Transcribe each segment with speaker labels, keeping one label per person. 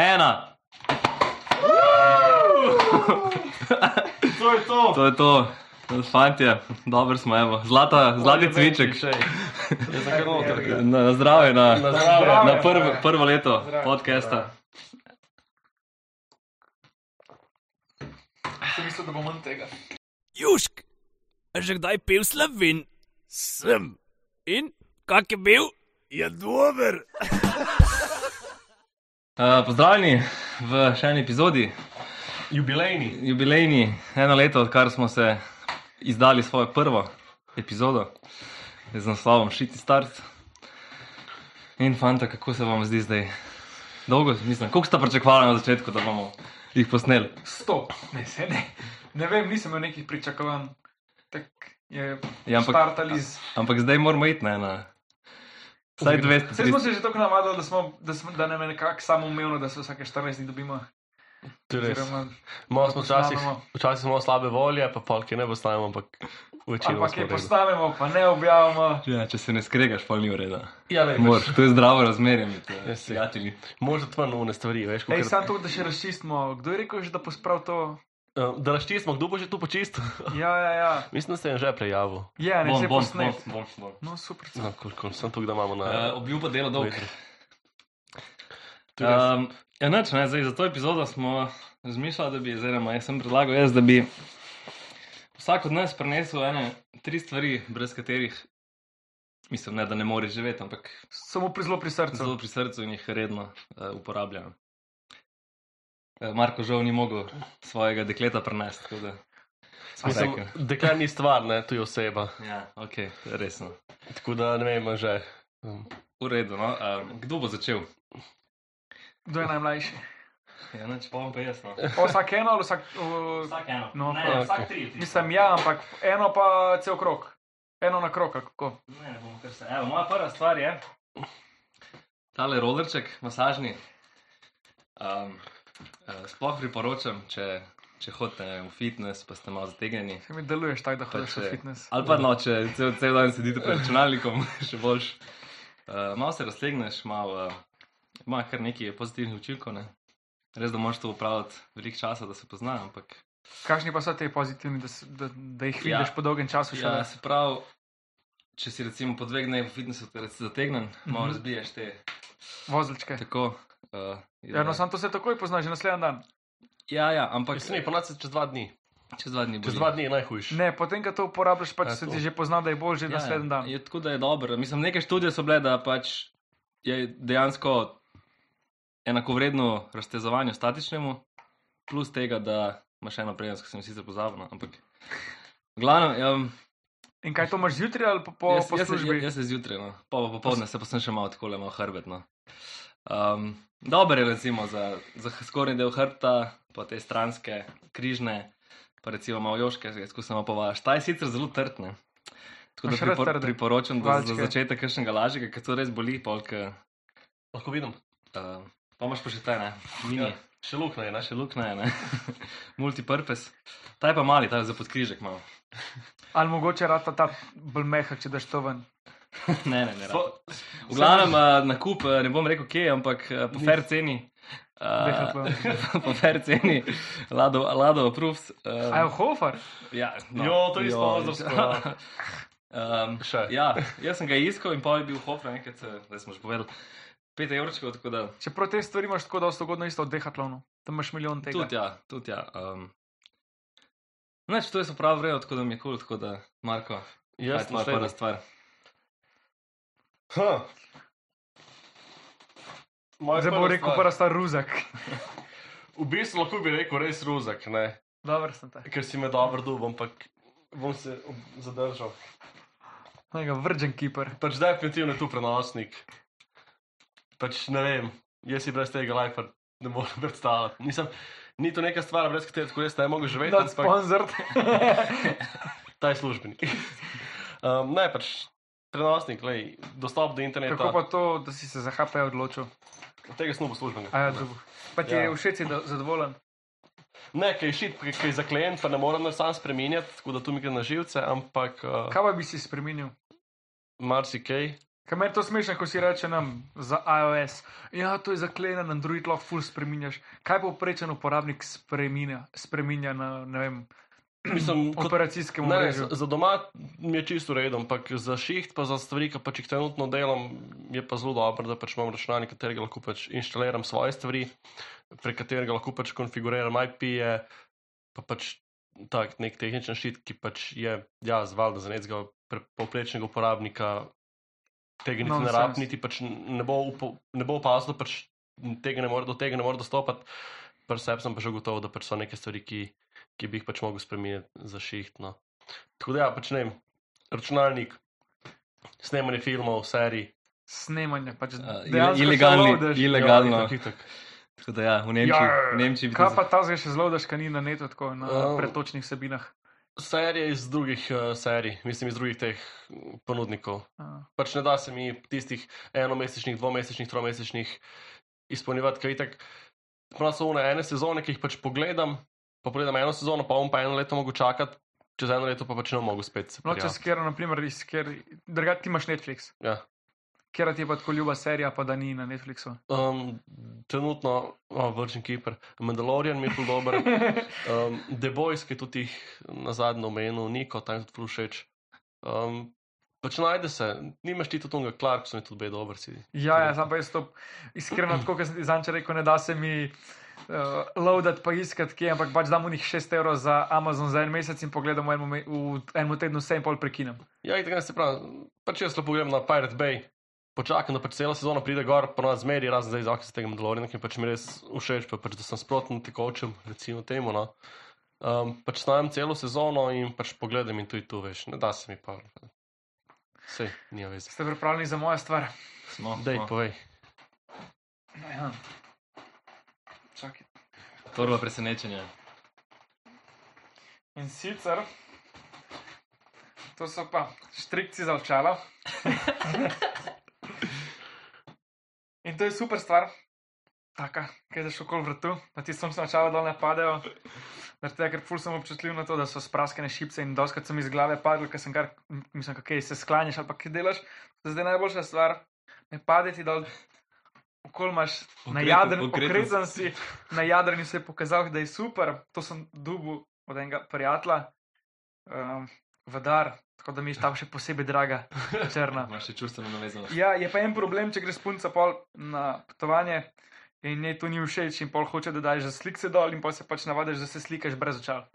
Speaker 1: ena.
Speaker 2: To je to.
Speaker 1: To je to. Fantje, dobro smo, evo. Zlata, zlati cviček.
Speaker 2: Je za karotke.
Speaker 1: Na, na zdravje, na,
Speaker 2: Na zdravje.
Speaker 1: na prvo, prvo leto
Speaker 2: Zdravje.
Speaker 1: podcasta.
Speaker 2: Sem mislil, da bo manj tega.
Speaker 3: Južk, a že kdaj pil slovin? Sem. In kak je bil? Je dober.
Speaker 1: Uh, pozdravljeni v še eni epizodi,
Speaker 2: Jubilejni.
Speaker 1: jubilejni, eno leto, odkar smo se izdali svojo prvo epizodo z naslovom Shitty Start. In fanta, kako se vam zdi zdaj? Dolgo, mislim, koliko ste pričakovali na začetku, da bomo jih posneli?
Speaker 2: Stop. Ne, se ne. Ne vem, nisem imel nekih pričakovanj. Tak je
Speaker 1: Ja, ampak-
Speaker 2: startali z.
Speaker 1: Ampak zdaj moramo iti ne, na vsaj
Speaker 2: Vse
Speaker 1: 200.
Speaker 2: smo se že tako navadili, da, smo, da, smo, da nam je nekako samoumevno, da se vsake 14 dni dobimo.
Speaker 4: To je res.
Speaker 2: Oziroma,
Speaker 4: Malo smo včasih,
Speaker 2: Posnamemo.
Speaker 4: včasih smo slabe volje, pa polke ne postavimo, ampak večino
Speaker 2: ampak
Speaker 4: smo
Speaker 2: je
Speaker 4: res.
Speaker 2: postavimo, pa ne objavimo.
Speaker 1: Ja, če se ne skregaš, pa ni v redu.
Speaker 4: Ja, veš,
Speaker 1: Moraš, to je zdravo razmerje med eh,
Speaker 4: Res je.
Speaker 1: prijatelji.
Speaker 4: moraš odprn one stvari, veš,
Speaker 2: Ej,
Speaker 4: kakor,
Speaker 2: samo to, da še razčistimo. Kdo je rekel, že, da posprav to?
Speaker 4: Eh, da razčistimo, kdo bo že tu počistil.
Speaker 2: Ja, ja, ja.
Speaker 4: Mislim, da se je že prijavil.
Speaker 2: Ja, ne,
Speaker 1: Bom,
Speaker 2: že
Speaker 1: bom,
Speaker 2: posnet.
Speaker 1: bom, bom, bom.
Speaker 2: No, super.
Speaker 4: No, koliko sem tu, da imamo na...
Speaker 1: Eh, Obljuba delo dolg.
Speaker 4: Veter. To je res.
Speaker 1: Um, ja, nič, ne, zdaj, za to epizodo smo razmišljali, da bi, oziroma jaz sem predlagal, jaz, da bi vsak od nas prenesel ene tri stvari, brez katerih mislim, ne, da ne moreš živeti, ampak
Speaker 2: Samo pri zelo pri srcu.
Speaker 1: zelo pri srcu in jih redno uh, uporabljam. Eh, Marko žal ni mogel svojega dekleta prenesti. tako Da, sva
Speaker 4: Eh, Mislim,
Speaker 1: rekla.
Speaker 4: dekle ni stvar, ne, tu je oseba.
Speaker 1: ja, ok, resno.
Speaker 4: Tako da ne vem, že. Um,
Speaker 1: V redu, no. um, kdo bo začel?
Speaker 2: Kdo je najmlajši?
Speaker 1: Ja, nič, pa bom pa jaz. No.
Speaker 2: O, vsak eno ali vsak. O,
Speaker 1: eno.
Speaker 2: No, Ne,
Speaker 4: prav. vsak
Speaker 1: tri.
Speaker 2: Mislim, ja, ampak eno pa cel krok. Eno na krok, ali kako.
Speaker 1: Ne, ne bomo kar se. Evo, moja prva stvar je tale rolerček, masažni. Um, sploh priporočam, če, če hodite ne vem, v fitness, pa ste malo zategnjeni.
Speaker 2: Se mi deluješ tako, da
Speaker 1: Pa
Speaker 2: hodiš v
Speaker 1: če-
Speaker 2: fitness.
Speaker 1: Ali pa no, če cel, cel dan sedite pred računalnikom, še boljš. Uh, malo se raztegneš, malo, uh, ima kar nekaj pozitivnih učinkov. Ne? Res, da moraš to upravljati veliko časa, da se pozna, ampak
Speaker 2: Kakšni pa so ti pozitivni, da, s- da, da jih
Speaker 1: Ja.
Speaker 2: vidiš ja. po dolgem času še?
Speaker 1: Ja,
Speaker 2: Ja.
Speaker 1: se pravi, če si recimo po dveh dneh v fitnessu te rec- zategnen, malo
Speaker 2: Mhm.
Speaker 1: razbiješ te.
Speaker 2: Vozličke.
Speaker 1: Tako, uh,
Speaker 2: Ja, no, samo to se takoj pozna, že naslednji dan.
Speaker 1: ja, ja, ampak
Speaker 4: Mislim, ponad se čez dva dni.
Speaker 1: čez dva dni bo.
Speaker 4: Čez dva dni je najhujš.
Speaker 2: Ne, potem, ko to uporabljaš, pač
Speaker 4: Ja,
Speaker 2: se
Speaker 4: to.
Speaker 2: ti že pozna, da je bolj že ja,
Speaker 1: ja,
Speaker 2: naslednji dan.
Speaker 1: Je tako, da je dobro. Mislim, neke študije so bile, da pač je dejansko enakovredno raztezovanju statičnemu, plus tega, da imaš eno prednost, ki sem jo sicer pozabil. no, Ampak, glavno, um,
Speaker 2: In kaj to imaš zjutraj ali po, po,
Speaker 1: jaz,
Speaker 2: po
Speaker 1: jaz, se-
Speaker 2: službi?
Speaker 1: jaz se zjutraj, no. pa pa popoldne se pa sem še malo tako, malo hrbetno. Um, Dober je recimo za, za skornji del hrbta, pa te stranske, križne, pa recimo malo joške, ki skušamo povajati. Ta je sicer zelo trtne. Tako da
Speaker 2: Imaš rad
Speaker 1: pripor,
Speaker 2: trde
Speaker 1: priporočam, da za
Speaker 2: valčke?
Speaker 1: začetek kakšnega lažjega, ker to res boli, polk.
Speaker 4: Lahko vidim.
Speaker 1: Uh, pa imaš pa še te, ne? Mini.
Speaker 4: Ja. Še lukna je, ne?
Speaker 1: Še luknje, ne? Multipurpose. Ta je pa mali, ta je za podkrižek malo.
Speaker 2: Ali mogoče rata ta bolj mehak, če daš to ven.
Speaker 1: ne, ne, ne.
Speaker 4: Po-
Speaker 1: V glavnem eh, na kup, eh, ne bom rekel kje, ampak eh, po fair ceni. eh,
Speaker 2: Decathlon.
Speaker 1: po fair ceni, Lado, Lado approves. eh,
Speaker 2: A je hofer?
Speaker 1: ja,
Speaker 4: Jo, to je isto sponzorstvo.
Speaker 1: Um,
Speaker 4: Še.
Speaker 1: ja, jaz sem ga iskal in pa je bil hofer, enkrat, eh, zdaj smo že povedali, 5 evrčkov, tako da
Speaker 2: Čeprav te stvari imaš tako dosto ugodno isto od dehatlonov. Tam imaš milijon tega.
Speaker 1: tudi ja, tudi ja. Um, Neč, to je se pravi vrejo, tako da mi je kul, cool, tako da, Marko, kaj je
Speaker 4: Jaz
Speaker 1: tvoja prva stvar.
Speaker 4: Huh.
Speaker 1: ja.
Speaker 4: Moja
Speaker 2: Zdaj bo
Speaker 4: prva
Speaker 2: rekel,
Speaker 4: stvar.
Speaker 2: prva sta ruzak.
Speaker 4: V bistvu lahko bi rekel res ruzak, ne?
Speaker 2: Dobro sem ta.
Speaker 4: ker si me dobro dubil, ampak bom se ob- zadržal.
Speaker 2: Nega vrđen kiper.
Speaker 4: Pač definitivno je tu prenosnik. Pač ne vem, jaz si brez tega life ne morem predstavljati. Nisem, ni to neka stvar, brez katere tako res ne mogu živeti,
Speaker 2: Not sponsored.
Speaker 4: ta je službeni. um, ne, pač prenosnik, lej, dostop do interneta,
Speaker 2: Kako pa to, da si se za HP odločil?
Speaker 4: tega snubu službenega.
Speaker 2: A ja, drugo. Pa ti je
Speaker 4: Ja.
Speaker 2: všeč, si da- zadovoljen.
Speaker 4: Ne, kaj je šit, kaj je zaklenjen, pa ne morem sam spremenjati, tako da tu mi gre na živce, ampak uh,
Speaker 2: Kaj pa bi si spremenil?
Speaker 4: marsikaj.
Speaker 2: Kaj meni to smešno, ko si reče nam za iOS, ja, to je zaklenjen, Android lahko ful spreminjaš. Kaj povprečen uporabnik spreminja, spreminja na ne vem,
Speaker 4: Mislim, kot-
Speaker 2: operacijskem
Speaker 4: Ne,
Speaker 2: omrežju?
Speaker 4: za za doma mi je čisto redo, ampak za šiht, pa za stvari, ki pač jih trenutno delam, je pa zelo dobro, da pač imam računalnik, katerega lahko pač inštaliram svoje stvari, prek katerega lahko pač konfiguriram IP-je, pa pač tak nek tehničen šit, ki pač je, ja, zvalda za nekega pre- povprečnega uporabnika, tega niti ne
Speaker 2: Nonsense.
Speaker 4: rab, niti pač ne bo, upo, ne bo opazil, da pač tega ne more, do tega ne more dostopati. Pri sebi sem pa že gotovo, da pač so neke stvari, ki, ki bi jih pač mogel spremeniti za šihtno. Tako da ja, pač ne vem, računalnik, snemanje filmov, serij.
Speaker 2: Snemanje, pač
Speaker 4: Eh,
Speaker 2: dejansko se
Speaker 1: Ilegalno,
Speaker 2: loadaš.
Speaker 1: ilegalno.
Speaker 4: Ja, itak, itak.
Speaker 1: Tako da ja, v Nemčiji, v Nemčiji bi to
Speaker 2: Kaj pa ta zdaj še zelo daškani na netu, tako na
Speaker 4: Ja.
Speaker 2: um. pretočnih sebinah?
Speaker 4: Serije iz drugih uh, serij, mislim iz drugih teh mm, ponudnikov.
Speaker 2: Uh,
Speaker 4: pač ne da se mi tistih enomesečnih, dvomesečnih, tromesečnih izpolnjevati, ker itak prav so one ene sezone, ki jih pač pogledam, pa pogledam eno sezono, pa on pa eno leto mogo čakati, čez eno leto pa pač ne mogo spet. se
Speaker 2: no, če
Speaker 4: prijaviti.
Speaker 2: skjer, naprimer, iz kjer, drugače ti imaš Netflix,
Speaker 4: Ja.
Speaker 2: kjer ti je pa tako ljuba serija, pa da ni na Netflixu.
Speaker 4: Um, trenutno, oh, Virgin Keeper, Mandalorian mi je zelo dober, um, The Boys, ki je tudi jih na zadnjem omenu, Niko, tam je tudi ful všeč. Um, pač najde se, nimaš ti tudi tunga, Clarkson je tudi bil dober. Si.
Speaker 2: Ja, ja, sam pa jaz to iskreno, tako kot sem ti zanče rekel, ne da se mi uh, loadat pa iskat kje, ampak pač dam v njih 6 evrov za Amazon za en mesec in pogledam v enem, me- v enem tednu vse in pol prekinem.
Speaker 4: Ja, in tako se pravi, pač jaz lepo grem na Pirate Bay, počakam, da pač cela sezona pride gor, pa nas zmeri, razen zdaj z Oxys tega Mandaloriana, ki mi pač mi res všeč, pa pač da sem sprotno tekočem, recimo temu. No. Um, pač snajem celo sezono in pač pogledam in tu in tu veš, ne da se mi pa. Vse, ni veze.
Speaker 2: Ste pripravljeni za moja stvar?
Speaker 1: smo.
Speaker 4: Dej,
Speaker 1: smo.
Speaker 4: povej.
Speaker 2: No, ja. Čakaj.
Speaker 1: To je bilo presenečenje.
Speaker 2: In sicer, to so pa štrikci za očala. In to je super stvar, taka, ki je šel kol vrtu, da ti sončna očala dol ne padejo. Zaradi tega, ker ful sem občutljiv na to, da so spraskane šipce in doskrat sem iz glave padel, ker sem kar, m, mislim, kako se sklanjaš ali pa kaj delaš. To je zdaj najboljša stvar, ne padeti dol, okol imaš najadren,
Speaker 1: okreten.
Speaker 2: okrezan si, najadren in se je pokazal, da je super. To sem dubu od enega prijatelja, um, vadar, tako da mi je ta še posebej draga, črna.
Speaker 1: Imaš še čustveno navezano.
Speaker 2: Ja, je pa en problem, če greš punca pol na potovanje in njej to ni všeč, in pol hoče, da daš za slike dol, in pol se pač navadiš, da se slikaš brez očal.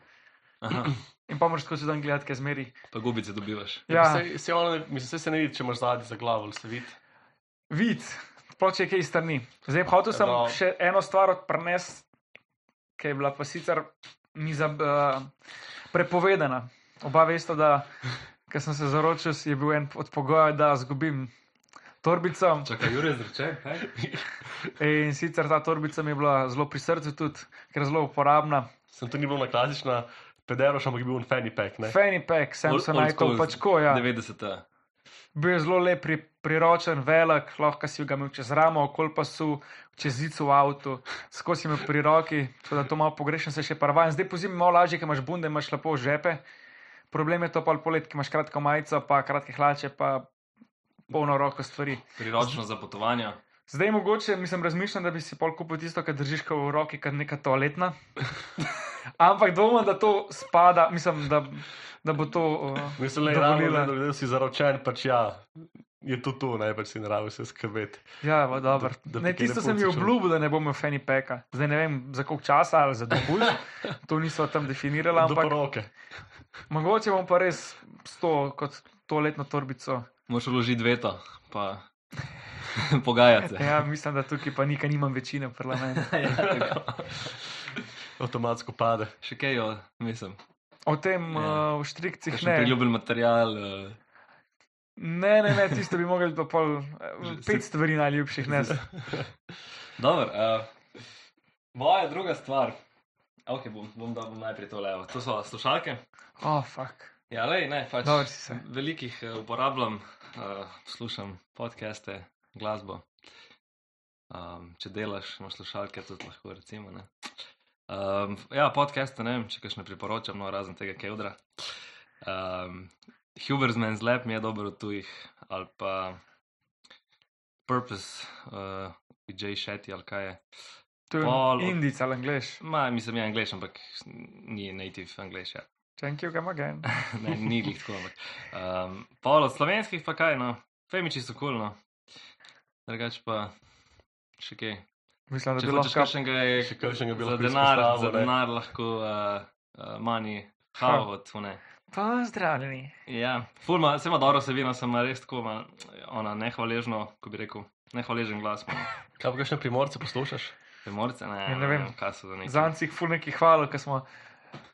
Speaker 1: Aha,
Speaker 2: In pa moraš skozi dan gledati, kaj zmeri.
Speaker 1: pa gubice dobivaš.
Speaker 2: Ja,
Speaker 4: Se, se, ono, ne- mislim, saj se ne vidi, če imaš zadnji za glavo, ali se vidi.
Speaker 2: vid, sploh če je kaj iz strani. Zdaj, hotel sem
Speaker 4: No.
Speaker 2: še eno stvar odprnes, ki je bila pa sicer mi za, uh, prepovedana. Oba veste, da ko sem se zaročil, je bil en od pogojev, da izgubim torbico.
Speaker 1: Čakaj, Jure, zreče, kaj?
Speaker 2: In sicer ta torbica mi je bila zelo pri srcu, tudi ker je zelo uporabna.
Speaker 4: Sem to ni bil na klasična pederoš, ampak je bil un fanny pack. Ne?
Speaker 2: Fanny pack, sem se najkol pač ko, ja.
Speaker 1: 90.
Speaker 2: Bil je zelo lep, pri, priročen, velik, lahko si ga imel čez ramo, okol pa so čez zico v avtu, skozi imel pri roki, tako da to malo pogrešam, se še parvan. Zdaj pozimi malo lažje, ker imaš bunde, imaš lepo žepe. Problem je to pa polet, ki imaš kratko majico, pa kratke hlače, pa polno roko stvari.
Speaker 1: Priročno za potovanja.
Speaker 2: Zdaj mogoče, mislim, razmišljam, da bi si pol kupil tisto, kar držiš ko v roki, kot neka toaletna. Ampak dvomim, da to spada, mislim, da, da bo to. Uh,
Speaker 4: Mislim, da je
Speaker 2: dovolila.
Speaker 4: ravno, da si zaročen, pač ja, je to to, najprej si ne rabi se skrbeti.
Speaker 2: Ja, va, dobro.
Speaker 4: Da- da
Speaker 2: Ne,
Speaker 4: bi kaj
Speaker 2: tisto sem
Speaker 4: lepo
Speaker 2: jim
Speaker 4: slišal.
Speaker 2: obljubil, da ne bom imel feni peka. Zdaj ne vem za koliko časa ali za dolgo. To niso tam definirali,
Speaker 4: Do
Speaker 2: ampak
Speaker 4: poroke.
Speaker 2: mogoče bom pa res s to kot toaletno torbico.
Speaker 1: Moš vložiti veto, pa pogajati se.
Speaker 2: Ja, mislim, da tukaj pa nikaj nimam večine v parlamentu.
Speaker 1: Ja,
Speaker 4: Avtomatsko pade.
Speaker 1: Še kaj, jo, mislim.
Speaker 2: O tem
Speaker 1: Ja.
Speaker 2: ja. uh, v štrikcih
Speaker 1: Še
Speaker 2: ne.
Speaker 1: priljubljen material. eh,
Speaker 2: Ne, ne, ne, tisto bi mogli pa pol. eh, Pet stvari najljubših, ne.
Speaker 1: Dobro, uh, moja druga stvar. Ok, bom, bom, da, bom najprej to levo. To so slušalke.
Speaker 2: Oh, fuck.
Speaker 1: Ja, lej, ne, pač
Speaker 2: Dobro si se.
Speaker 1: velikih eh, uporabljam, uh, poslušam podcaste, glasbo. Um, če delaš, imaš slušalke, tudi lahko recimo. ne. Um, ja, podcaste ne vem, če kakšne priporočam, no razen tega Kevdra. Ehm, Um, Huber's Men's Lab mi je dober od tujih, ali pa Purpose, uh, J. Shetty ali kaj je.
Speaker 2: To je
Speaker 1: Pol-
Speaker 2: Indic ali Angliš.
Speaker 1: Ma, mislim, je angliš, ampak ni native angliš. Ja.
Speaker 2: Thank you, come again.
Speaker 1: Ne, ni jih tako. Ampak. Um, pol od slovenskih pa kaj, no, femiči so kulno. Drugač pa še kaj.
Speaker 2: Mislim, da
Speaker 1: Če
Speaker 2: bi
Speaker 1: hočeš
Speaker 2: lahko.
Speaker 1: kakšnega, je
Speaker 4: Še kakšnega bi
Speaker 1: za
Speaker 4: lahko
Speaker 1: denar, za
Speaker 4: izpostavil, ne.
Speaker 1: denar lahko uh, uh, manj havo, tune.
Speaker 2: Pozdravljeni.
Speaker 1: Ja, fulma, se ima dobro, se vino, sem res tako, ima, ona nehvaležno, ko bi rekel, nehvaležen glas. ima.
Speaker 4: Kaj pa kakšne primorce poslušaš?
Speaker 1: Primorce, ne,
Speaker 2: Ja, ne vem.
Speaker 1: kaj so za nekaj.
Speaker 2: Zancih ful nekih hvala, ker smo.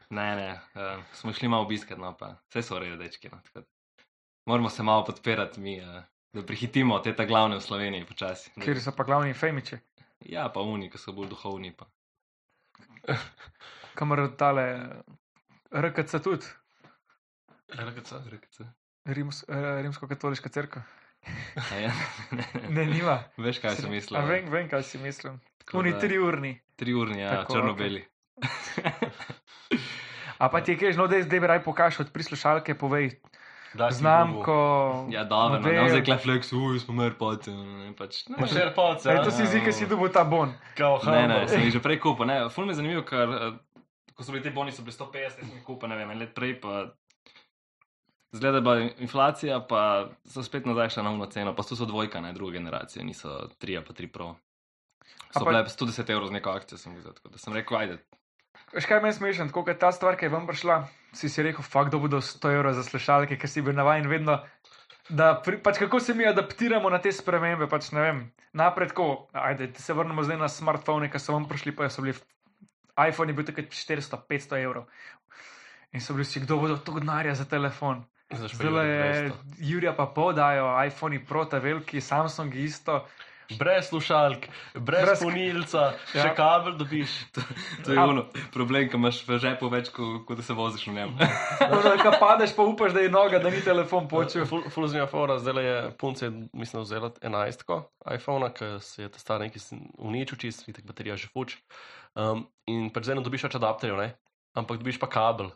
Speaker 1: Ne, ne, uh, smo šli malo obiskat, no pa vse so rede dečki. No, tako da Moramo se malo podpirati, mi, uh, da prihitimo te ta glavne v Sloveniji počasi. Da-
Speaker 2: Kjer so pa glavni femiči,
Speaker 1: Ja, pa oni, ki so bolj duhovni. Pa.
Speaker 2: kamor tale RKC tudi,
Speaker 4: RKC.
Speaker 1: RKC.
Speaker 2: Rims, eh, rimsko-katoliška crkva.
Speaker 1: A Ja,
Speaker 2: Ne, nima.
Speaker 1: Veš, kaj sem
Speaker 2: A
Speaker 1: mislil. ja.
Speaker 2: Vem, vem, kaj si mislim.
Speaker 1: Tako
Speaker 2: Oni
Speaker 1: da-
Speaker 2: triurni.
Speaker 1: Triurni, ja,
Speaker 2: Tako,
Speaker 1: črno-beli.
Speaker 2: A pa ti je kaj, no, da zdaj bi raj pokaš od prislušalke, povej
Speaker 4: Daj si Google.
Speaker 2: znamko.
Speaker 1: Ja, dobro, no, ne
Speaker 2: model.
Speaker 1: vem, zakaj fleks, uj, smo mer poti. Ne, pač, ne,
Speaker 4: Ma še palce.
Speaker 2: Ej, to si zdi, ki si dobil ta bon.
Speaker 4: Kao,
Speaker 1: ne, ne, sem jih že prej kupil. ne. Ful mi je zanimivo, ker eh, ko so bili te boni, so bili 150, jaz sem jih kupil, ne vem, en let prej pa. Zgleda, da je inflacija, pa so spet nazaj šla na umno ceno, pa so so dvojka, ne druge generacije, niso tri, pa tri prav.
Speaker 2: A
Speaker 1: So
Speaker 2: pa-
Speaker 1: bile 110 evrov z neko akcijo, sem videl, tako da sem rekel, ajde.
Speaker 2: Veš kaj je meni smešen, tako kot ta stvar, ki je vam prišla, si si rekel, fakt, da bodo 100 evrov za slušalke, ker si bil navaden vedno. Da, pri, pač kako se mi adaptiramo na te spremembe, pač ne vem. Naprej tako, ajde, da se vrnemo zdaj na smartphone, ki so vam prišli, pa so bili, iPhone je bil takrat 400, 500 evrov. In so bili vsi, kdo bo dal toliko denarja za telefon. Zdaj je Jurija pa podajo, iPhone, prota, veliki, Samsung isto.
Speaker 4: Brez slušalk, brez,
Speaker 2: Brez-
Speaker 4: brez punilca, ja. še
Speaker 2: Ja.
Speaker 4: kabel dobiš.
Speaker 1: To je
Speaker 2: A-
Speaker 1: ono, problem, ki imaš v žepu več, kot ko da se voziš v njem.
Speaker 2: Možda, ko padeš, pa upaš, da je noga, da ni telefon počil.
Speaker 4: Eh, Ful, ful zanimiva fora, zdaj je punce, je, mislim, vzela 11 iPhone, ki se je ta star neki uničil, čist, itak baterija že fuč. Um, in pač zdaj ne dobiš več adapterjev, ne? ampak dobiš pa kabel.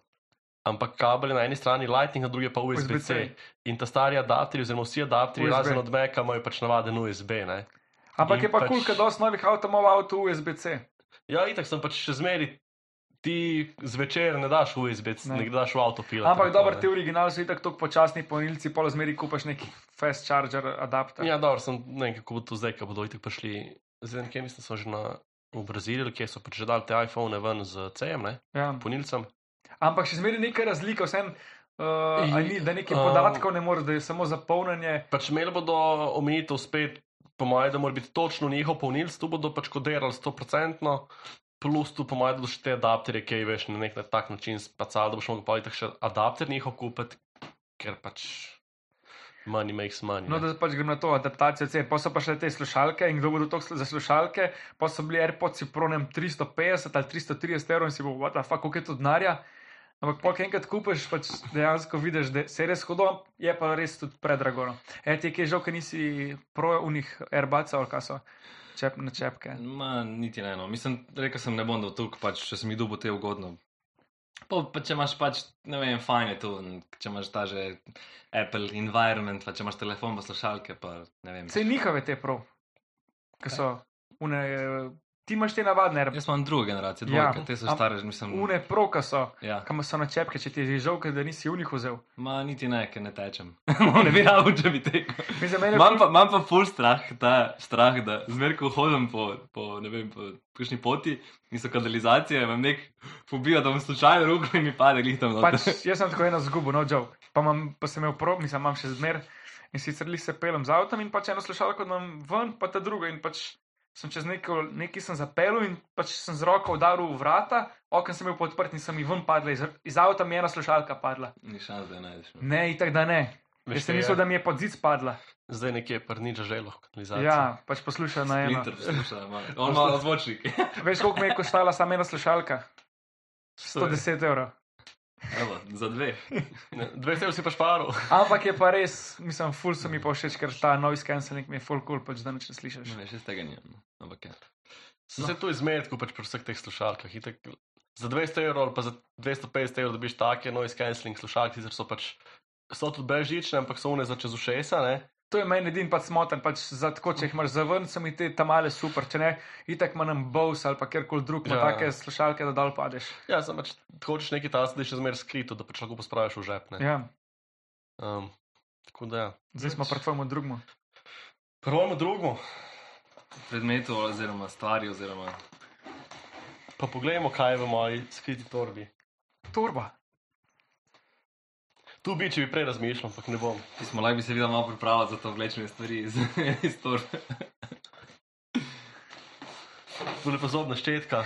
Speaker 4: Ampak kabel je na eni strani Lightning, na drugi pa USB-C.
Speaker 2: USB-C.
Speaker 4: In ta stari adapterji, oziroma vsi adapterji,
Speaker 2: USB.
Speaker 4: razen od Meka, imajo pač navaden USB. Ne?
Speaker 2: Ampak
Speaker 4: In
Speaker 2: je pa
Speaker 4: pač-
Speaker 2: kul, ker dosti novih avtomobilov avto USB-C.
Speaker 4: Ja, itak sem pač še zmeri. Ti zvečer ne daš v USB-C,
Speaker 2: Ne.
Speaker 4: ne. ne daš v avtopilot.
Speaker 2: Ampak
Speaker 4: tako,
Speaker 2: dobro,
Speaker 4: ne.
Speaker 2: ti originali so itak tako počasni polnilci, pol zmeri kupaš neki fast charger adapter.
Speaker 4: Ja, dobro, sem ne vem, kako bo to zdaj, ko bodo itek prišli. Zdaj, nekje mislim, so že na, v Braziliji, ali kje so pač že dali te iPhone ven z CM, ne,
Speaker 2: Ja.
Speaker 4: ponilcem.
Speaker 2: Ampak še zmeri neka razlika, vsem, uh, ni,
Speaker 4: I-
Speaker 2: da nekaj
Speaker 4: um,
Speaker 2: podatkov ne moreš, da je samo zapolnjenje.
Speaker 4: Pač imeli bodo omejitev spet, po mojem, da mora biti točno njihov ponilc, tu bodo pač kodirali 100%, plus tu po mojem, da bodo še te adapterje, ki veš na nek na tak način spacal, da boš mogel pa itek še adapter njihov kupiti, ker pač money makes money.
Speaker 2: No, da
Speaker 4: ne.
Speaker 2: pač gre na to adaptacijo C. Pa so pa še te slušalke in kdo bo to za slušalke, pa so bili AirPods pro nem 350 ali 330 evrov in si bo, what the fuck, koliko je to denarja. Ampak pa, ki enkrat kupiš, pač dejansko vidiš, da se je res hudo, je pa res tudi predrago. no. E, ti je kje žal, ker nisi pro unih AirBuds ali kaj so, čep, na čepke.
Speaker 1: Ma, niti ne eno. Mislim, rekel sem, ne bom dal tukaj, pač, če se mi dubo te ugodno. Pa, pa če imaš pač, ne vem, fajn je to, in če imaš ta že Apple environment, pa če imaš telefon, pa slušalke, pa ne vem.
Speaker 2: Vse njihove te pro, ki so une, eh, ti imaš te navadne AirPods,
Speaker 1: Jaz imam drugo generacijo,
Speaker 2: Ja.
Speaker 1: dvojke, ja, te so
Speaker 2: Am-
Speaker 1: stare, že mislim.
Speaker 2: une pro, ki so,
Speaker 1: Ja.
Speaker 2: kam so na čepke, če ti je že žal, ker da nisi unih vzel.
Speaker 1: Ma, niti ne, ker ne tečem. ne bi rado, če bi tekel.
Speaker 2: Mislim, mene je
Speaker 1: Imam pa, imam pa full strah, ta strah, da zmeraj, ko hodim po, po ne vem, po kakšni poti in so kanalizacije, imam nek fobijo, da bom slučajno roko in mi pade glih tam. noter.
Speaker 2: Pač, jaz sem tako ena zguba, no, žal. Pa, imam- pa sem imel prob, nisem imam še zmer. In sicer lih se pelem z avtom in pač eno slušalko imam ven, pa ta drugo. In pač sem čez neko, neki sem zapeljal in pač sem z roko udaril v vrata, oken sem imel podprt in sem jih ven padla. Iz, iz avta mi je ena slušalka padla.
Speaker 1: Ni šans, da jo najdeš. no.
Speaker 2: Ne, itak da ne. Veš,
Speaker 4: Veš,
Speaker 2: sem
Speaker 4: kaj je?
Speaker 2: mislil, da mi je pod zid padla.
Speaker 4: Zdaj nekje je prniča želo, kanalizacija.
Speaker 2: Ja, pač poslušaj na eno.
Speaker 1: Splinter posluša, ima- on ima zvočnik.
Speaker 2: Veš, koliko mi je koštala samo ena slušalka? 110 evrov.
Speaker 1: Evo, za dve.
Speaker 4: Ne, 20 evrov si pač paš paril.
Speaker 2: Ampak je pa res, mislim, ful so mi pa všeč, ker ta noise cancelling mi je ful kul, cool, pač da nič ne slišiš.
Speaker 1: Ne, še tega nimam. Ampak ja.
Speaker 4: Sem se tu izmeril, tako pač pri vseh teh slušalkah. Itak, za 200 evrov ali pa za 250 evrov dobiš take noise cancelling slušalke, sicer so pač, so tudi brezžične, ampak so une za čez ušesa, ne?
Speaker 2: To je meni edini pač smotan, pač za tako, če jih imaš zavrn, so mi te tamale super, če ne, itak manj Bose ali pa kjerkoli drug, ima
Speaker 4: Ja.
Speaker 2: take slušalke, da dol padeš.
Speaker 4: Ja, samo pač hočeš nekaj tasa, da je še zmeraj skrito, da pač lahko pospraviš v žep. ne.
Speaker 2: Ja,
Speaker 4: Um, tako da, ja.
Speaker 2: zdaj smo pri tvojemu drugemu.
Speaker 4: Prvojmo drugo,
Speaker 1: predmetu oziroma stvari oziroma
Speaker 4: pa poglejmo, kaj je v moji skriti torbi.
Speaker 2: Turba.
Speaker 4: Tu bi, če bi prej razmišljal, ampak ne bom.
Speaker 1: Ti smo lahko bi se videl malo pripravljati za to vlečenje stvari iz, iz torbe.
Speaker 4: Tole pozorna štetka.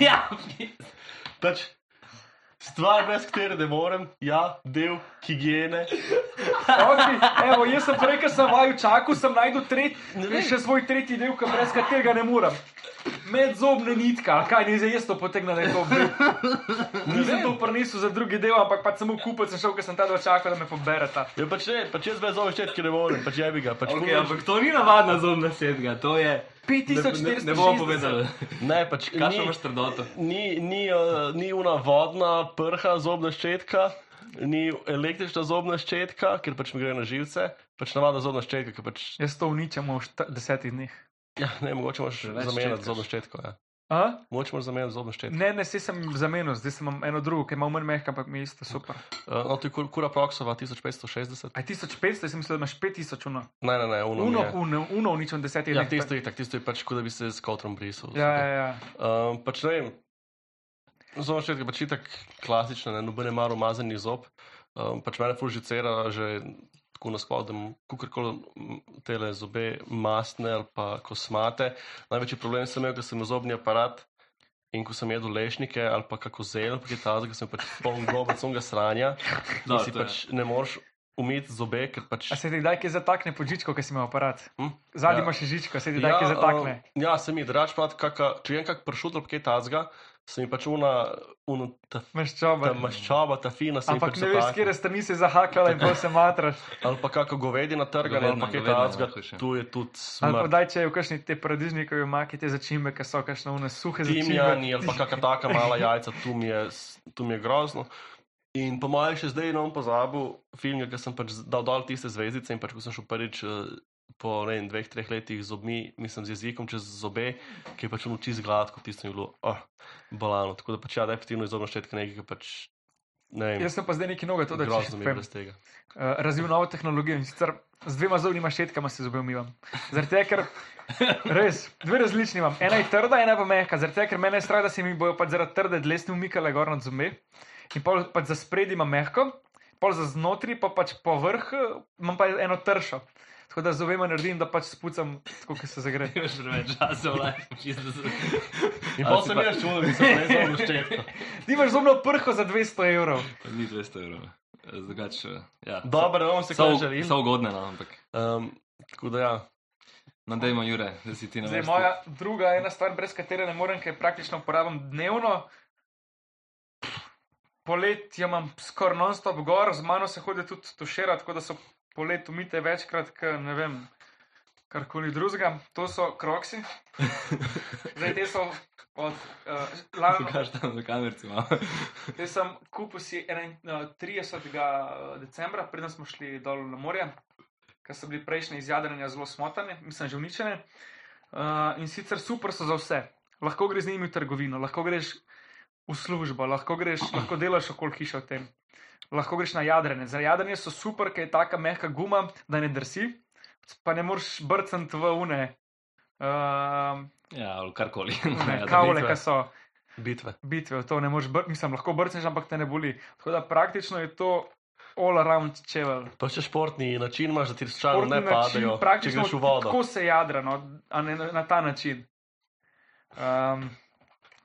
Speaker 1: ja,
Speaker 4: Pač, stvar, brez katere ne morem, ja, del higiene.
Speaker 2: Okay, evo, jaz sem prej, ker sem vaju čakal, sem najdel tret, še svoj tretji del, ki brez katerega ne morem. Medzobna nitka, ali kaj ni za jaz to potegnil, da je to bil. Nisem to prinesel za drugi del, ampak pač samo kupec sem šel, ker sem ta dva čakal, da me pobereta.
Speaker 4: Ja, pač ne, pač jaz brez ove štetke ne morem, pač jebi ga. Pač
Speaker 1: okay,
Speaker 4: pogledaj-
Speaker 1: ampak to ni navadna zobna sedga, to je. Ne, ne, ne bomo
Speaker 2: 5400.
Speaker 1: povedali,
Speaker 4: Ne, pač
Speaker 1: kaj
Speaker 4: ni-
Speaker 1: še imaš trdoto.
Speaker 4: Ni, ni, uh, ni una vodna prha zobna ščetka, ni električna zobna ščetka, ker pač mi gre na živce, pač navadna zobna ščetka, ki pač
Speaker 2: Jaz to uničamo v šta- desetih dneh.
Speaker 4: ja, ne mogoče moraš
Speaker 1: Preveč
Speaker 4: zamenjati
Speaker 1: ščetkaš.
Speaker 4: zobno ščetko. Ja.
Speaker 2: A?
Speaker 4: Mogoče moraš zamenjati zobno ščetko.
Speaker 2: Ne, ne, se sem zamenil, zdaj sem imam eno drugo, ki ima manj mehka, ampak mi je isto super.
Speaker 4: Uh, no, to je kur, kura proksova 1560.
Speaker 2: A je 1500, jaz sem mislil, da imaš 5000 uno.
Speaker 4: Ne, ne, ne, uno. mi
Speaker 2: Uno,
Speaker 4: je.
Speaker 2: uno, uno uničen v desetih
Speaker 4: Ja,
Speaker 2: dneh.
Speaker 4: tisto je, tak, tisto je pač, kot da bi se s kotrom brisal.
Speaker 2: Ja, ja, ja.
Speaker 4: Um, pač ne vem, zelo še je pač tako klasična, ne nobene maro umazanih zob. Um, pač mene fulžicera že tako naspodem, kakorkoli te zobe, masne ali pa kosmate. Največji problem sem imel, ker sem imel zobni aparat. In ko sem jedel lešnike ali pa kako zelo, ki je ta zdaj, ker sem pač poln gobec, sem ga sranja, da
Speaker 1: Da,
Speaker 4: si
Speaker 1: to je.
Speaker 4: pač ne moreš umiti zobe, ker pač.
Speaker 2: A se ti kdaj kaj zatakne pod žičko, ki si imel aparat?
Speaker 4: Hm?
Speaker 2: Zadnji
Speaker 4: Ja.
Speaker 2: imaš še žičko, se ti kdaj kaj zatakne.
Speaker 4: Uh, ja, se mi drač, pa kaka, če jem kak pršut ali kaj tazga, se mi pač una, una ta,
Speaker 2: Imaš
Speaker 4: ta
Speaker 2: čobar.
Speaker 4: maščoba, ta fina, se mi
Speaker 2: Ampak
Speaker 4: pač
Speaker 2: ne veš, s
Speaker 4: zatakne.
Speaker 2: katere strani se je zahaklala in pol se matraš.
Speaker 4: Ali pa kako govedina trgana, ali
Speaker 1: Govedina,
Speaker 4: pa kaj
Speaker 1: govedina,
Speaker 4: tazga,
Speaker 1: lahko še.
Speaker 4: tu je tudi
Speaker 2: Ali pa
Speaker 4: smrt.
Speaker 2: daj, če je v kakšni te paradižnikovi omaki, te začimbe, ki so kakšne une suhe
Speaker 4: Timjani ali pa
Speaker 2: Ti-
Speaker 4: kakšna taka mala jajca, tu mi je, s- tu mi je grozno. In po mojem še zdaj ne bom pozabil film, ker sem pač dal dol tiste zvezdice in pač ko sem šel prvič eh, po ne, vem, dveh, treh letih z obmi, mislim z jezikom čez zobe, ki je pač ono čist gladko, tisto je bilo oh, balano. Tako da pač ja, definitivno izobno štetka nekaj, ki pač ne vem.
Speaker 2: Jaz sem pa zdaj neki noge, to da če
Speaker 4: grozno mi je
Speaker 2: spem.
Speaker 4: brez tega.
Speaker 2: Uh, razvil novo tehnologijo in sicer z dvema zobnima šetkama se zobe umivam. Zaradi tega, ker res, dve različni imam. Ena je trda, ena pa mehka. Zaradi tega, ker mene je strah, da se mi bojo pač zaradi trde dlesni umikale gor nad zobe. In pol pač za spredi imam mehko, pol za znotraj, pa pač po vrh eh, imam pa eno tršo. Tako da z obema naredim, da pač spucam, tako kot se zagre.
Speaker 1: Imaš preveč časa, vlajko, čisto za
Speaker 4: In
Speaker 1: A
Speaker 4: pa
Speaker 1: si
Speaker 4: sem
Speaker 1: pa-
Speaker 4: jaz čudil, da sem izobno štetka.
Speaker 2: Ti imaš zobno prho za 200 evrov.
Speaker 1: Ni 200 evrov. Eh, Drugače, ja.
Speaker 4: Dobro, ne bom se
Speaker 1: so,
Speaker 4: kaj žalil.
Speaker 1: so ugodne, no, ampak.
Speaker 4: Um, tako da ja.
Speaker 1: Nadejmo, Jure, da si ti na
Speaker 2: Zdaj,
Speaker 1: vrsti.
Speaker 2: moja druga ena stvar, brez katere ne morem, ker jo praktično uporabljam dnevno. Polet jo imam skoraj non-stop gor, z mano se hodi tudi tuširati, tako da so polet umite večkrat, ker ne vem, karkoli drugega. To so kroksi. Zdaj, te so od uh, lani.
Speaker 1: Pokaž tam za kamerci malo.
Speaker 2: Jaz sem kupil si ena- eh, 30. decembra, preden smo šli dol na morje, ker so bili prejšnji izjadranja zelo smotane, mislim, že uničene. Uh, in sicer super so za vse. Lahko greš z njimi v trgovino, lahko greš v službo, lahko, greš, lahko delaš okoli hiše v tem. Lahko greš na jadranje. Za jadranje so super, ker je taka mehka guma, da ne drsi, pa ne moreš brcati v une, uh,
Speaker 1: Ja, ali karkoli.
Speaker 2: une
Speaker 1: Ja, da
Speaker 2: kavle,
Speaker 1: ni-
Speaker 2: ki so
Speaker 4: Bitve.
Speaker 2: bitve, v to ne moreš, br- mislim, lahko brcneš, ampak te ne boli. Tako da praktično je to all around čevel.
Speaker 4: Pa še športni način imaš, da ti slučajno ne padajo, če
Speaker 2: praktično
Speaker 4: greš v vodo.
Speaker 2: tako se jadra, no, a ne na, na ta način. Um,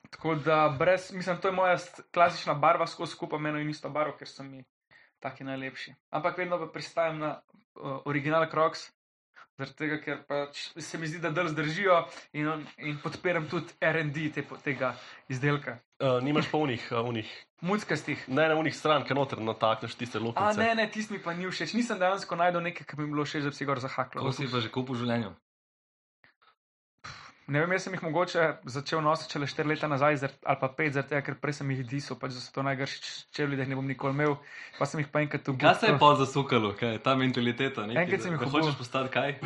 Speaker 2: tako da brez, mislim, to je moja st- klasična barva, skozi skupaj meno in isto barvo, ker so mi taki najlepši. Ampak vedno pa pristajam na uh, original Crocs. Zaradi tega, ker pač se mi zdi, da drž držijo in, in podpiram tudi RD te, tega izdelka.
Speaker 4: Uh, nimaš polnih, uh, unih,
Speaker 2: Muckastih.
Speaker 4: ne, ne, unih stran, ker noter natakneš tiste
Speaker 2: A
Speaker 4: luknjice.
Speaker 2: ne, ne, tisti mi pa ni všeč. Nisem dejansko najdel nekaj, kar bi mi bilo všeč, da bi si gor zahaklo.
Speaker 1: Kako si pa že kupil v življenju?
Speaker 2: Ne vem, jaz sem jih mogoče začel nositi šele 4 leta nazaj, zar- ali pa 5, zaradi tega, ker prej sem jih disal, pač da so to najgrši čevlji, da jih ne bom nikoli imel, pa sem jih pa enkrat tu
Speaker 1: Kaj se je pa zasukalo, kaj je ta mentaliteta? Nekaj,
Speaker 2: Enkrat sem
Speaker 1: da-
Speaker 2: jih
Speaker 1: da
Speaker 2: oblul.
Speaker 1: hočeš postati kaj?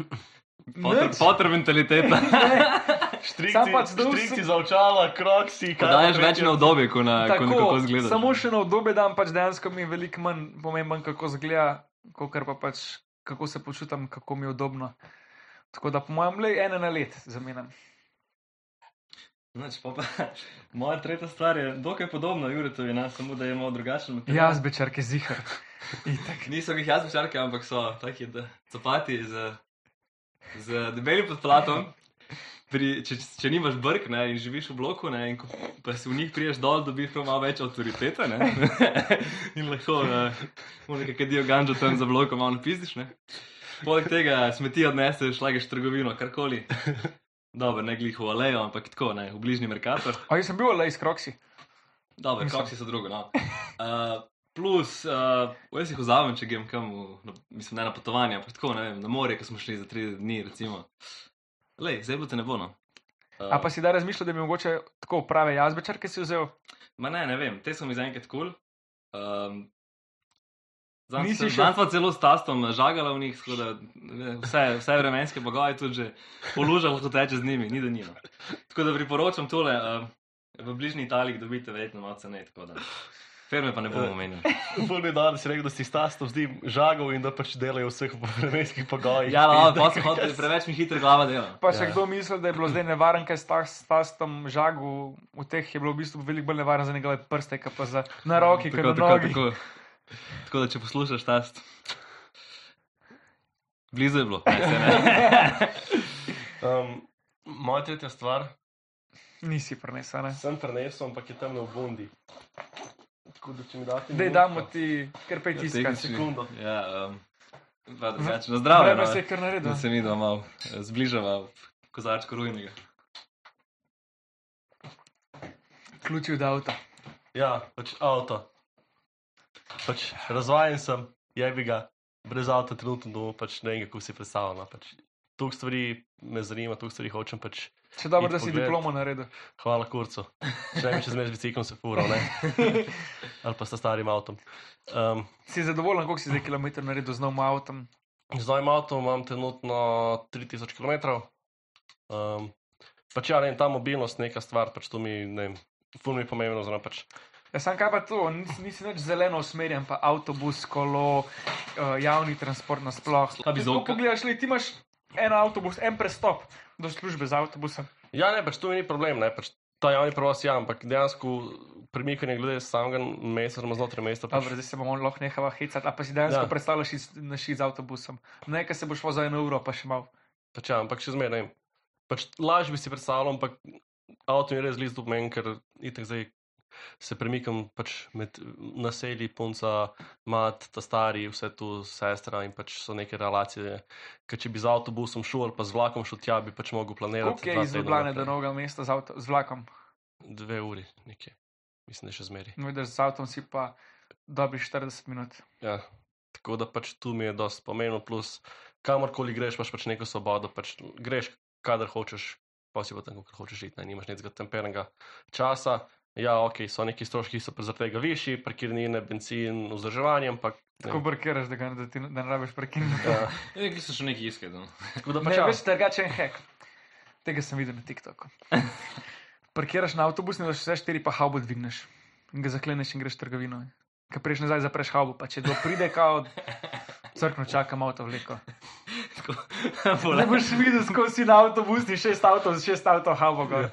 Speaker 1: Potter,
Speaker 2: Nič.
Speaker 1: Potter mentaliteta.
Speaker 2: Sam
Speaker 4: Štrikci,
Speaker 2: pač dol
Speaker 4: štrikci za očala, kroksi,
Speaker 1: Ko Daješ več na obdobje, ko, na, ko nekako zgledaš.
Speaker 2: samo še na obdobje dan, pač dejansko mi je veliko manj pomemben, kako zgleda, kot pa pač kako se počutim, kako mi je udobno. Tako da po mojem le ena na let zamenjam.
Speaker 1: Znači, pa, pa, moja tretja stvar je dokaj podobna Juretovi, ne? samo da je malo drugačen material.
Speaker 2: Jaz bečarke zihar. Itak.
Speaker 1: Niso jih jaz večarke, ampak so taki da- copati z, z debelim podplatom. Pri, če, če nimaš brk ne, in živiš v bloku, ne, in ko, pa si v njih priješ dol, dobiš prav malo več avtoritete. Ne, in lahko eh, nekaj kadijo ganžo tam za blokom, malo napistiš. Ne. Poleg tega smeti odneseš, lageš v trgovino, karkoli. Dobro, ne glih v alejo, ampak tako, ne, v bližnji merkator.
Speaker 2: A jaz sem bil le iz Kroksi.
Speaker 1: Dobro,
Speaker 2: Mislim.
Speaker 1: kroksi so drugo. No. Uh, plus, uh, jaz jih vzamem, če grem kam, v, na, mislim, ne na potovanje, ampak tako, ne vem, na morje, ko smo šli za tri dni, recimo. Lej, zdaj bo te ne bo. No. Uh,
Speaker 2: A pa si da razmišljal, da bi mogoče tako prave jazbečarke si vzel?
Speaker 1: Ma ne, ne vem, te so mi zaenkrat kul. Um,
Speaker 2: Nisi
Speaker 1: Zanj
Speaker 2: še-
Speaker 1: smo celo s tastom žagala v njih, tako da ne, vse, vse vremenske bogove tudi že poluža lahko teče z njimi, ni da njima. Tako da priporočam tole, um, v bližnji Italiji dobite verjetno malo cenej, tako da firme pa ne
Speaker 2: Eh,
Speaker 1: bomo omenjali.
Speaker 4: Prvi dan si rekel, da si stasno zdi žagov in da pač delajo v vseh vremenskih pogojih.
Speaker 1: Ja, no,
Speaker 4: Pizda,
Speaker 1: pa sem hotel, preveč mi hitro glava dela.
Speaker 2: Pa še ja.
Speaker 4: Ja.
Speaker 2: kdo misli, da je bilo zdaj nevaren, kaj sta s tastom žagu, v teh je bilo v bistvu veliko bolj nevaren za njegove prste, kot pa za na roki, ker na
Speaker 1: Ja,
Speaker 2: nogi.
Speaker 1: tako. Tako da, če poslušaš tast. Blizu je bilo. Ne, se ne.
Speaker 4: Um, moja tretja stvar,
Speaker 2: Nisi prenesel, ne?
Speaker 4: sem prenesel, ampak je tam na obundi. Tako da če mi date.
Speaker 2: Dej,
Speaker 4: minutko.
Speaker 2: damo ti kar pet tiskati.
Speaker 1: Tehnični-
Speaker 4: sekundo.
Speaker 1: Ja, um, pa drugače, na zdravje.
Speaker 2: Vreme
Speaker 1: no.
Speaker 2: se je kar naredilo.
Speaker 1: Da se mi dva malo eh, zbližava v kozarčko rujnega.
Speaker 2: Ključi od avta.
Speaker 4: Ja, pač avto. Pač razvajen sem, je bi ga, brez avta trenutno domov, pač ne vem, kako si predstavljam. no, Pač. Tuk stvari me zanima, tuk stvari hočem. Pač.
Speaker 2: Še dobro,
Speaker 4: Id
Speaker 2: da si
Speaker 4: pogledat.
Speaker 2: diplomo naredil.
Speaker 4: Hvala kurcu. Še ne bi čez mesec biciklom se fural, ne? Ali pa sta starim avtom. Um,
Speaker 2: Si zadovoljen, koliko si zdaj kilometrov naredil z novim avtom?
Speaker 4: Z novim avtom imam trenutno 3000 km. Um, pač ja, ne, vem, ta mobilnost je neka stvar, pač to mi ne, ful mi je pomembno, oziroma pač
Speaker 2: Ja, sam kaj pa to, nisi, nisi več zeleno usmerjen, pa avtobus, kolo, eh, javni transport nasploh.
Speaker 1: Slabi
Speaker 2: Če tako
Speaker 1: zonka.
Speaker 2: Pogledaš, le, ti imaš en avtobus, en prestop do službe z avtobusom.
Speaker 4: Ja, ne, pač to mi ni problem, ne, pač ta javni prevoz je, ja, ampak dejansko premikanje glede samega mesta, oziroma znotraj mesta. Pač,
Speaker 2: Dobro, zdaj se bomo lahko nehava hecati, a pa si dejansko
Speaker 4: Ja.
Speaker 2: ja. predstavljaš iz, naši z avtobusom. Ne, ker se boš vozil eno uro, pa še malo.
Speaker 4: pač, ja, ampak še zmeraj, ne vem. Pač laž bi si predstavljal, ampak avto mi je res zelo zelo pomemben, ker itek zdaj se premikam pač med naselji, punca, mat, ta stari, vse tu, sestra in pač so neke relacije. Ker če bi z avtobusom šel ali pa z vlakom šel tja, bi pač mogel planirati.
Speaker 2: Kako je
Speaker 4: dva
Speaker 2: iz
Speaker 4: tedna
Speaker 2: Ljubljana Ja, do
Speaker 4: vnaprej.
Speaker 2: novega mesta z, avto, z vlakom?
Speaker 4: Dve uri, nekje. Mislim, da je še zmeraj.
Speaker 2: No, vidiš, z avtom si pa dobiš 40 minut.
Speaker 4: Ja. Tako da pač tu mi je dosti pomembno, plus kamorkoli greš, imaš pač neko svobodo, pač greš, kadar hočeš, pa si pa tam, kako hočeš živeti, ne nimaš nekega temperenega časa. Ja, ok, so neki stroški, ki so pa zaradi tega višji, parkirnine, benzin, vzdrževanje, ampak. ne
Speaker 2: Tako
Speaker 4: vem.
Speaker 2: brkiraš, da, ga, da, ti, da ne rabiš prekiniti.
Speaker 4: Ja,
Speaker 1: Nekaj so še nekaj iskali. No.
Speaker 4: tako da
Speaker 2: Ne,
Speaker 4: pač.
Speaker 2: ja.
Speaker 4: Ja,
Speaker 2: veš, drugačen hek. Tega sem videl na TikToku. Parkiraš na avtobus, ne daš vse štiri, pa haubo dvigneš. In ga zakleneš in greš v trgovino. Kaj prejš nazaj, zapreš haubo, pa če kdo pride, kao crkno čakam avto vleko.
Speaker 1: Tako,
Speaker 2: Ne boš videl, skozi si na avtobusni, šest avtov, šest avtov haubo
Speaker 4: Ja,
Speaker 2: gor.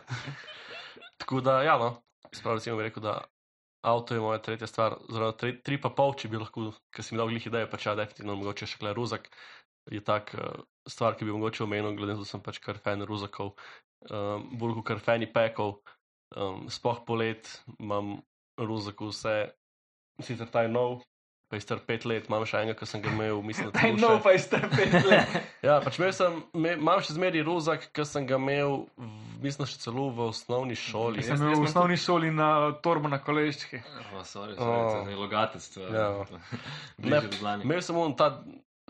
Speaker 4: Tako da, ja, no. Sprav, recimo, bi rekel, da avto je moja tretja stvar, zelo tri, tri pa pol, če bi lahko, ker si mi dal glih ideje, pač ja, definitivno mogoče še kle ruzak. Je tak uh, stvar, ki bi mogoče omenil, glede na to, da sem pač kar fan ruzakov, um, bolj kot kar fani pekov, um, spoh polet, imam ruzak vse, sicer ta je nov. Pa je star pet let, imam še enega, ki sem ga imel, mislim, da
Speaker 2: Taj
Speaker 4: tu
Speaker 2: nov
Speaker 4: še-
Speaker 2: no, pa je strpel.
Speaker 4: Ja, pač imel sem, me, imam še zmeraj rozak, ki sem ga imel, v- mislim, da še celo v osnovni šoli.
Speaker 2: Sem bil v osnovni šoli na torbo na kolejščki.
Speaker 1: Oh, sorry, sorry,
Speaker 4: Oh.
Speaker 1: to je logatec. To, je-
Speaker 4: Ja.
Speaker 1: to je
Speaker 4: Ne,
Speaker 1: bližje do znanja.
Speaker 4: imel sem on ta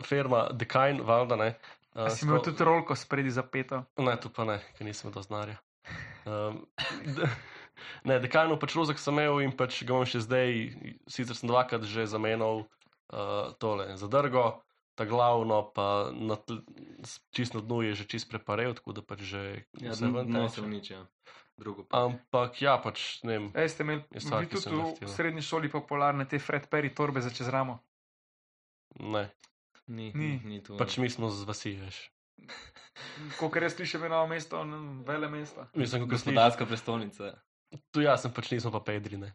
Speaker 4: firma, Dekajn, valjda ne. Uh,
Speaker 2: Si imel tudi rolko spredi zapeto.
Speaker 4: Ne, to pa ne, ker nisem do znarja. Um, d- ne, dekanov pač rozak sem imel in pač ga imam še zdaj, sicer sem dvakrat že zamenjal uh, tole zadrgo, ta glavno pa na tl, s- čist na dnu je že čist preparel, tako da pač že
Speaker 1: Ja,
Speaker 4: vse ven
Speaker 1: no,
Speaker 4: teče.
Speaker 1: sem nič, ja. Drugo. pa.
Speaker 4: Ampak ja, pač ne vem.
Speaker 2: Ej, ste imeli
Speaker 4: Jaz vsak,
Speaker 2: bili
Speaker 4: ki sem
Speaker 2: tudi v- v
Speaker 4: drhtel.
Speaker 2: srednji šoli popularne te Fred Perry torbe za čez ramo.
Speaker 4: Ne.
Speaker 1: Ni,
Speaker 2: Ni.
Speaker 1: ni, ni tu.
Speaker 4: Pač mi smo z vasi, veš.
Speaker 2: Kolikor jaz slišim, je novo mesto, ne, vele mesta.
Speaker 4: Mislim, kako smo danes.
Speaker 1: gospodarska prestolnica.
Speaker 4: Tu jaz sem pač nismo pa pedrine.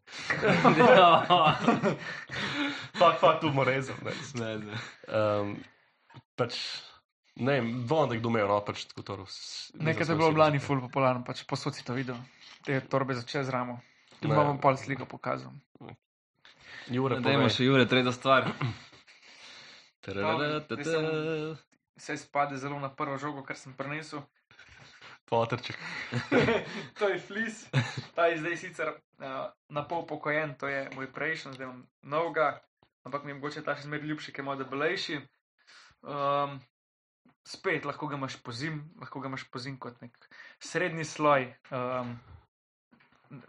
Speaker 1: ja,
Speaker 4: Fak, fak, tu mora rezati.
Speaker 1: Pač ne, ne.
Speaker 4: Um, pač, ne vem, dvomim, da kdo imel, no pač tako to.
Speaker 2: Nekaj je bilo v Lani ful popularno, pač posod si to videl. Te torbe za čez ramo. Ti
Speaker 4: Ne.
Speaker 2: bom pol sliko pokazal.
Speaker 4: Jure,
Speaker 1: Dajmo še Jure, tretja stvar. Tararara,
Speaker 2: No, jaz
Speaker 1: tata.
Speaker 2: Vse spade zelo na prvo žogo, kar sem prenesel.
Speaker 4: Potrček.
Speaker 2: to je flis, ta je zdaj sicer uh, na pol pokojen, to je moj prejšnji, zdaj imam novega, ampak mi je mogoče ta še zmeraj ljubši, ki je malo debelejši. Um, spet lahko ga imaš pozim, lahko ga imaš pozim kot nek srednji sloj. Um,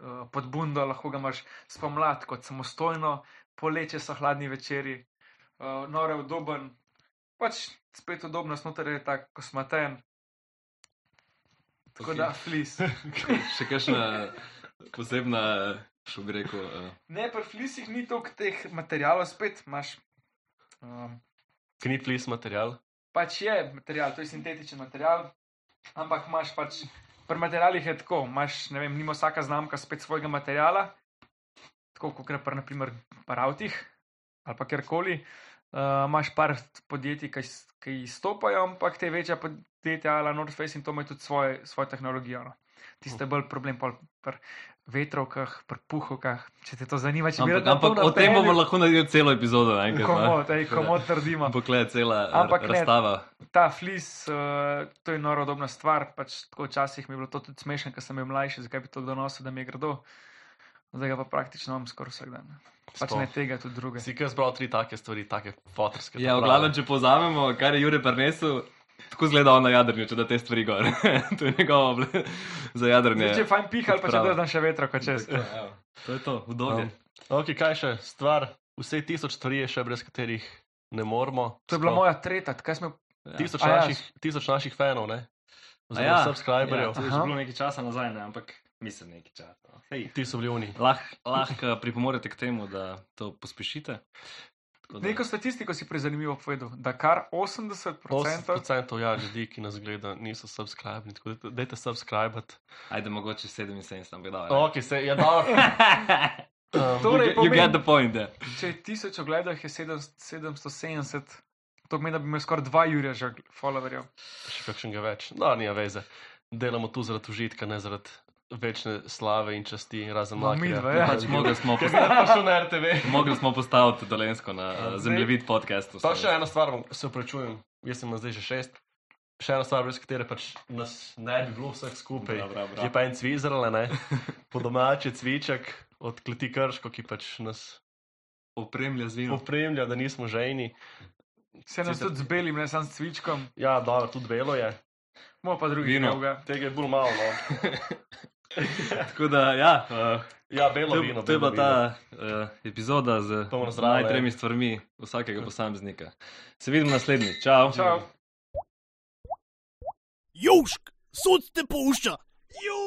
Speaker 2: uh, Pod bundo lahko ga imaš spomlad kot samostojno, poleče so hladni večeri, uh, nore udoben, pač spet udobno, znotraj je tako kosmaten, tako okay. da flis.
Speaker 1: Še kakšna posebna, še bi rekel, eh,
Speaker 2: Ne, pri flisih ni toliko teh materijalov, spet imaš. Um,
Speaker 4: Knip lis material.
Speaker 2: pač je material, to je sintetičen material, ampak imaš pač. Pri materialih je tako, imaš, ne vem, nima vsaka znamka spet svojega materiala, tako kot gre pri, naprimer, pri avtih ali pa kjerkoli. Uh, imaš par podjetij, ki, s- ki izstopajo, ampak te večja podjetja, ala North Face in to ima tudi svoje, svojo tehnologijo. No. Tiste je bolj problem pol pri vetrovkah, pri puhovkah, če te to zanima, če bi
Speaker 1: ampak,
Speaker 2: rad na to
Speaker 1: ampak o tem bomo
Speaker 2: napeljal-
Speaker 1: lahko naredili celo epizodo. Enkrat,
Speaker 2: Komod, ej, komod naredimo.
Speaker 1: Ampak le cela
Speaker 2: Ampak
Speaker 1: ampak
Speaker 2: ne.
Speaker 1: razstava.
Speaker 2: Ta flis, uh, to je norodobna stvar. Pač, tako včasih mi je bilo to tudi smešno, ker sem bil mlajši, zakaj bi to kdo nosil, da mi je grdo. Zdaj ga pa praktično imam skoraj vsak dan. Pač
Speaker 4: Sploh.
Speaker 2: ne tega, tudi druge.
Speaker 4: Si kaj zbral tri take stvari, take fotorske.
Speaker 1: Ja, v glavnem, če povzamemo, kar je Jure prinesel, tako zgleda on na jadrnju, če da te stvari gor. to je njegovo ble- za jadrnje.
Speaker 2: Zdaj, če je fajn piha, ali pa če
Speaker 1: Odprava.
Speaker 2: dozdam še vetro, kot čez.
Speaker 1: Tako, evo, To je to, udobje.
Speaker 4: No. Ok, kaj še? Stvar, vse tisoč stvari je še brez katerih ne moremo.
Speaker 2: To je bila moja tretja, kaj smo.
Speaker 1: Ja.
Speaker 4: Tisoč,
Speaker 2: A ja.
Speaker 4: naših, tisoč naših fanov, ne? Oziroma
Speaker 1: A ja.
Speaker 4: subscriberjev.
Speaker 1: to je
Speaker 2: Aha.
Speaker 1: že bilo nekaj časa nazaj, ne? ampak mislim nekaj časa. no. Hej.
Speaker 4: Ti so bili oni.
Speaker 1: Lah, lahko pripomorete k temu, da to pospešite. Tako da-
Speaker 2: Neko statistiko si prezanimivo povedal, da kar 80%
Speaker 4: 80% ja, ljudi, ki nas gleda, niso subscribni, tako da dajte subscribati.
Speaker 1: Ajde, mogoče 77, ampak da.
Speaker 2: ja.
Speaker 4: Ok, se ja, je dal. Um,
Speaker 2: Torej,
Speaker 1: You
Speaker 2: pomeni-
Speaker 1: get the point. ja.
Speaker 2: Če je tisoč ogledov, je sedem- 770, to pomeni, da bi imel skoraj 2 jurja že followerjev.
Speaker 4: še kakšnega več. No, ni veze. Delamo tu zaradi užitka, ne zaradi večne slave in časti, razen
Speaker 2: No,
Speaker 4: makerja.
Speaker 2: midva, ja.
Speaker 1: Pač mogli smo
Speaker 4: Ker
Speaker 1: posta-
Speaker 4: zdaj pa še na RTV.
Speaker 1: mogli smo postaviti dolensko na eh, zemljevid podcastu.
Speaker 4: Ja, Pa še ena stvar, bom- se upravičujem, jaz sem zdaj že šest. Še ena stvar, brez katere pač nas ne bi bilo vseh skupaj.
Speaker 1: Bra, bra, bra.
Speaker 4: Je pa en cvizrl, ne? Po domače cviček od kleti Krško, ki pač nas
Speaker 1: opremlja z vinom.
Speaker 4: opremlja, da nismo žejni.
Speaker 2: Se nas
Speaker 4: Sicer-
Speaker 2: tudi z belim, ne samo s cvičkom,
Speaker 4: Ja, dobro, tudi belo je.
Speaker 2: bomo pa drugi
Speaker 1: Vino.
Speaker 2: novega.
Speaker 4: Tega je bolj malo. No.
Speaker 1: Tako da, ja, eh,
Speaker 4: Ja, belo
Speaker 1: to,
Speaker 4: vino.
Speaker 1: je- to je bila
Speaker 4: belo vino.
Speaker 1: ta uh, epizoda z
Speaker 4: Polno zdravje.
Speaker 1: najtremi stvarmi vsakega posameznika. Se vidimo naslednjič. Čau.
Speaker 2: Čau.
Speaker 3: Južk, sod te pušča! Južk!